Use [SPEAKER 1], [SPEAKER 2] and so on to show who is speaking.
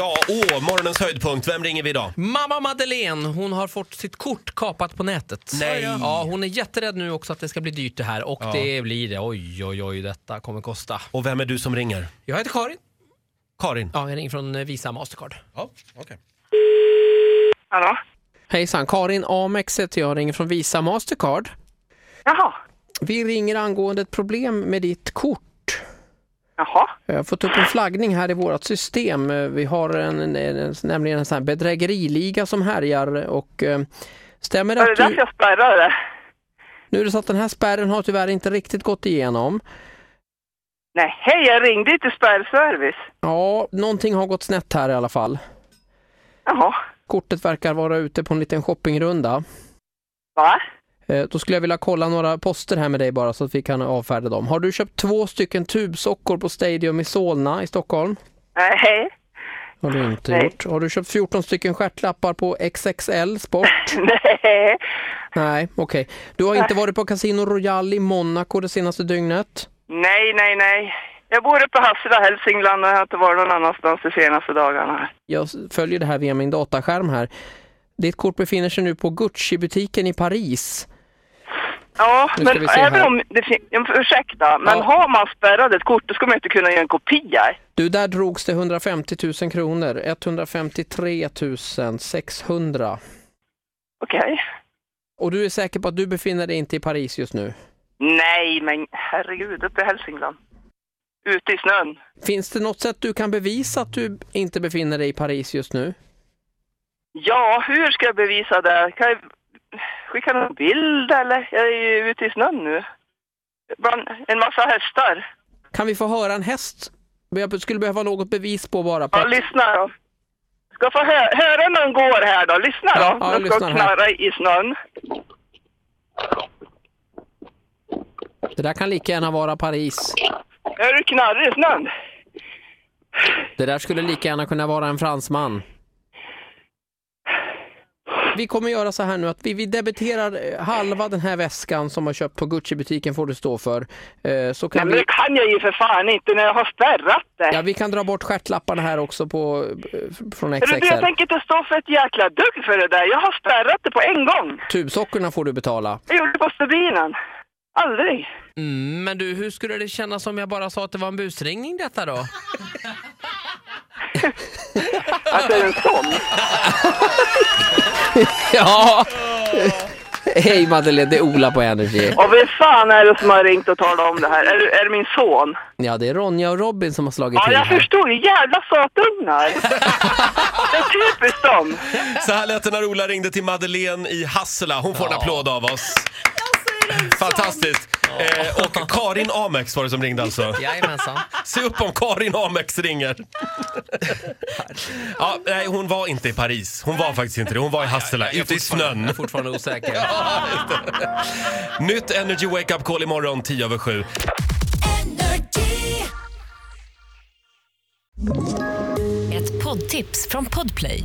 [SPEAKER 1] Åh, morgonens höjdpunkt. Vem ringer vi idag?
[SPEAKER 2] Mamma Madeleine, hon har fått sitt kort kapat på nätet.
[SPEAKER 1] Nej.
[SPEAKER 2] Ja, hon är jätterädd nu också att det ska bli dyrt det här och det blir det. Oj, oj, oj, detta kommer kosta.
[SPEAKER 1] Och vem är du som ringer?
[SPEAKER 2] Jag heter Karin.
[SPEAKER 1] Karin?
[SPEAKER 2] Ja, jag ringer från eh, Visa Mastercard.
[SPEAKER 1] Ja, okej.
[SPEAKER 3] Hallå?
[SPEAKER 2] Hejsan, Karin Amex heter jag, ringer från Visa Mastercard.
[SPEAKER 3] Jaha.
[SPEAKER 2] Vi ringer angående ett problem med ditt kort.
[SPEAKER 3] Jaha.
[SPEAKER 2] Jag har fått upp en flaggning här i vårt system. Eh, Vi har en, en, en, nämligen en sån här bedrägeriliga som härjar och eh, stämmer det
[SPEAKER 3] Var det
[SPEAKER 2] att
[SPEAKER 3] därför
[SPEAKER 2] du...
[SPEAKER 3] jag spärrade?
[SPEAKER 2] Nu är det så att den här spärren har tyvärr inte riktigt gått igenom.
[SPEAKER 3] Nej, hej, jag ringde inte spärrservice.
[SPEAKER 2] Ja, någonting har gått snett här i alla fall.
[SPEAKER 3] Jaha.
[SPEAKER 2] Kortet verkar vara ute på en liten shoppingrunda.
[SPEAKER 3] Va?
[SPEAKER 2] Eh, Då skulle jag vilja kolla några poster här med dig bara så att vi kan avfärda dem. Har du köpt två stycken tubsockor på Stadium i Solna i Stockholm?
[SPEAKER 3] Nej, hej.
[SPEAKER 2] Har du inte
[SPEAKER 3] Nej.
[SPEAKER 2] gjort. Har du köpt 14 stycken stjärtlappar på XXL Sport?
[SPEAKER 3] Nej.
[SPEAKER 2] Nej, okej. Du har inte varit på Casino Royale i Monaco det senaste dygnet?
[SPEAKER 3] Nej, nej, nej. Jag bor uppe i Hassela, Hälsingland och jag har inte varit någon annanstans de senaste dagarna. här.
[SPEAKER 2] Jag s- följer det här via min dataskärm här. Ditt kort befinner sig nu på Gucci-butiken i Paris.
[SPEAKER 3] Ja,
[SPEAKER 2] Nu ska vi
[SPEAKER 3] men
[SPEAKER 2] se
[SPEAKER 3] även
[SPEAKER 2] här.
[SPEAKER 3] om det fin- ja, men Ursäkta, men
[SPEAKER 2] Ja.
[SPEAKER 3] har man spärrat ett kort då ska man inte kunna göra en kopia.
[SPEAKER 2] Du, där drogs det 150 000 kronor. 153 600.
[SPEAKER 3] Okej.
[SPEAKER 2] Och du är säker på att du befinner dig inte i Paris just nu?
[SPEAKER 3] Nej, men herregud, uppe i Hälsingland. Ute i snön.
[SPEAKER 2] Finns det något sätt du kan bevisa att du inte befinner dig i Paris just nu?
[SPEAKER 3] Ja, hur ska jag bevisa det? Kan jag skicka någon bild eller? Jag är ju ute i snön nu. Bland en massa hästar.
[SPEAKER 2] Kan vi få höra en häst? Jag skulle behöva något bevis på bara. På
[SPEAKER 3] Ja,
[SPEAKER 2] att-
[SPEAKER 3] lyssna då. Ska få hö- höra när de går här då. Lyssna
[SPEAKER 2] Ja,
[SPEAKER 3] då.
[SPEAKER 2] ja, jag
[SPEAKER 3] de ska
[SPEAKER 2] lyssnar här.
[SPEAKER 3] knarra i snön.
[SPEAKER 2] Det där kan lika gärna vara Paris.
[SPEAKER 3] Hör du knarr i snön?
[SPEAKER 2] Det där skulle lika gärna kunna vara en fransman. Vi kommer göra så här nu att vi, vi debiterar eh, halva den här väskan som har köpt på Gucci-butiken får du stå för. Eh, Så kan
[SPEAKER 3] Nej, men
[SPEAKER 2] vi,
[SPEAKER 3] det kan jag ju för fan inte när jag har spärrat det.
[SPEAKER 2] ja, vi kan dra bort stjärtlapparna här också på, eh, f- från
[SPEAKER 3] Hörru du, jag
[SPEAKER 2] XXL.
[SPEAKER 3] tänker inte stå för ett jäkla dugg för det där. Jag har spärrat det på en gång.
[SPEAKER 2] Tubsockorna får du betala.
[SPEAKER 3] Jag gjorde det på stubinen. Aldrig.
[SPEAKER 4] Mm, men du, hur skulle det kännas om jag bara sa att det var en busringning detta då?
[SPEAKER 3] Att det är en sån.
[SPEAKER 2] Ja! Hej Madeleine, det är Ola på Energy.
[SPEAKER 3] Och vem fan är det som har ringt och talat om det här? Är, är det min son?
[SPEAKER 2] Ja, det är Ronja och Robin som har slagit
[SPEAKER 3] Ja,
[SPEAKER 2] till
[SPEAKER 3] jag
[SPEAKER 2] här.
[SPEAKER 3] förstod. Jävla sötungar! Det är typiskt dem.
[SPEAKER 1] Så här lät det när Ola ringde till Madeleine i Hassela. Hon får en applåd av oss. Fantastiskt! Eh, och Karin Amex var det som ringde alltså.
[SPEAKER 4] Jajamensan.
[SPEAKER 1] Se upp om Karin Amex ringer. Ja, nej, hon var inte i Paris. Hon var faktiskt inte det. Hon var i Hassela, ute i
[SPEAKER 4] Jag är
[SPEAKER 1] snön.
[SPEAKER 4] fortfarande osäker.
[SPEAKER 1] Nytt Energy Wake Up Call imorgon 10 över 7.
[SPEAKER 5] Ett poddtips från Podplay.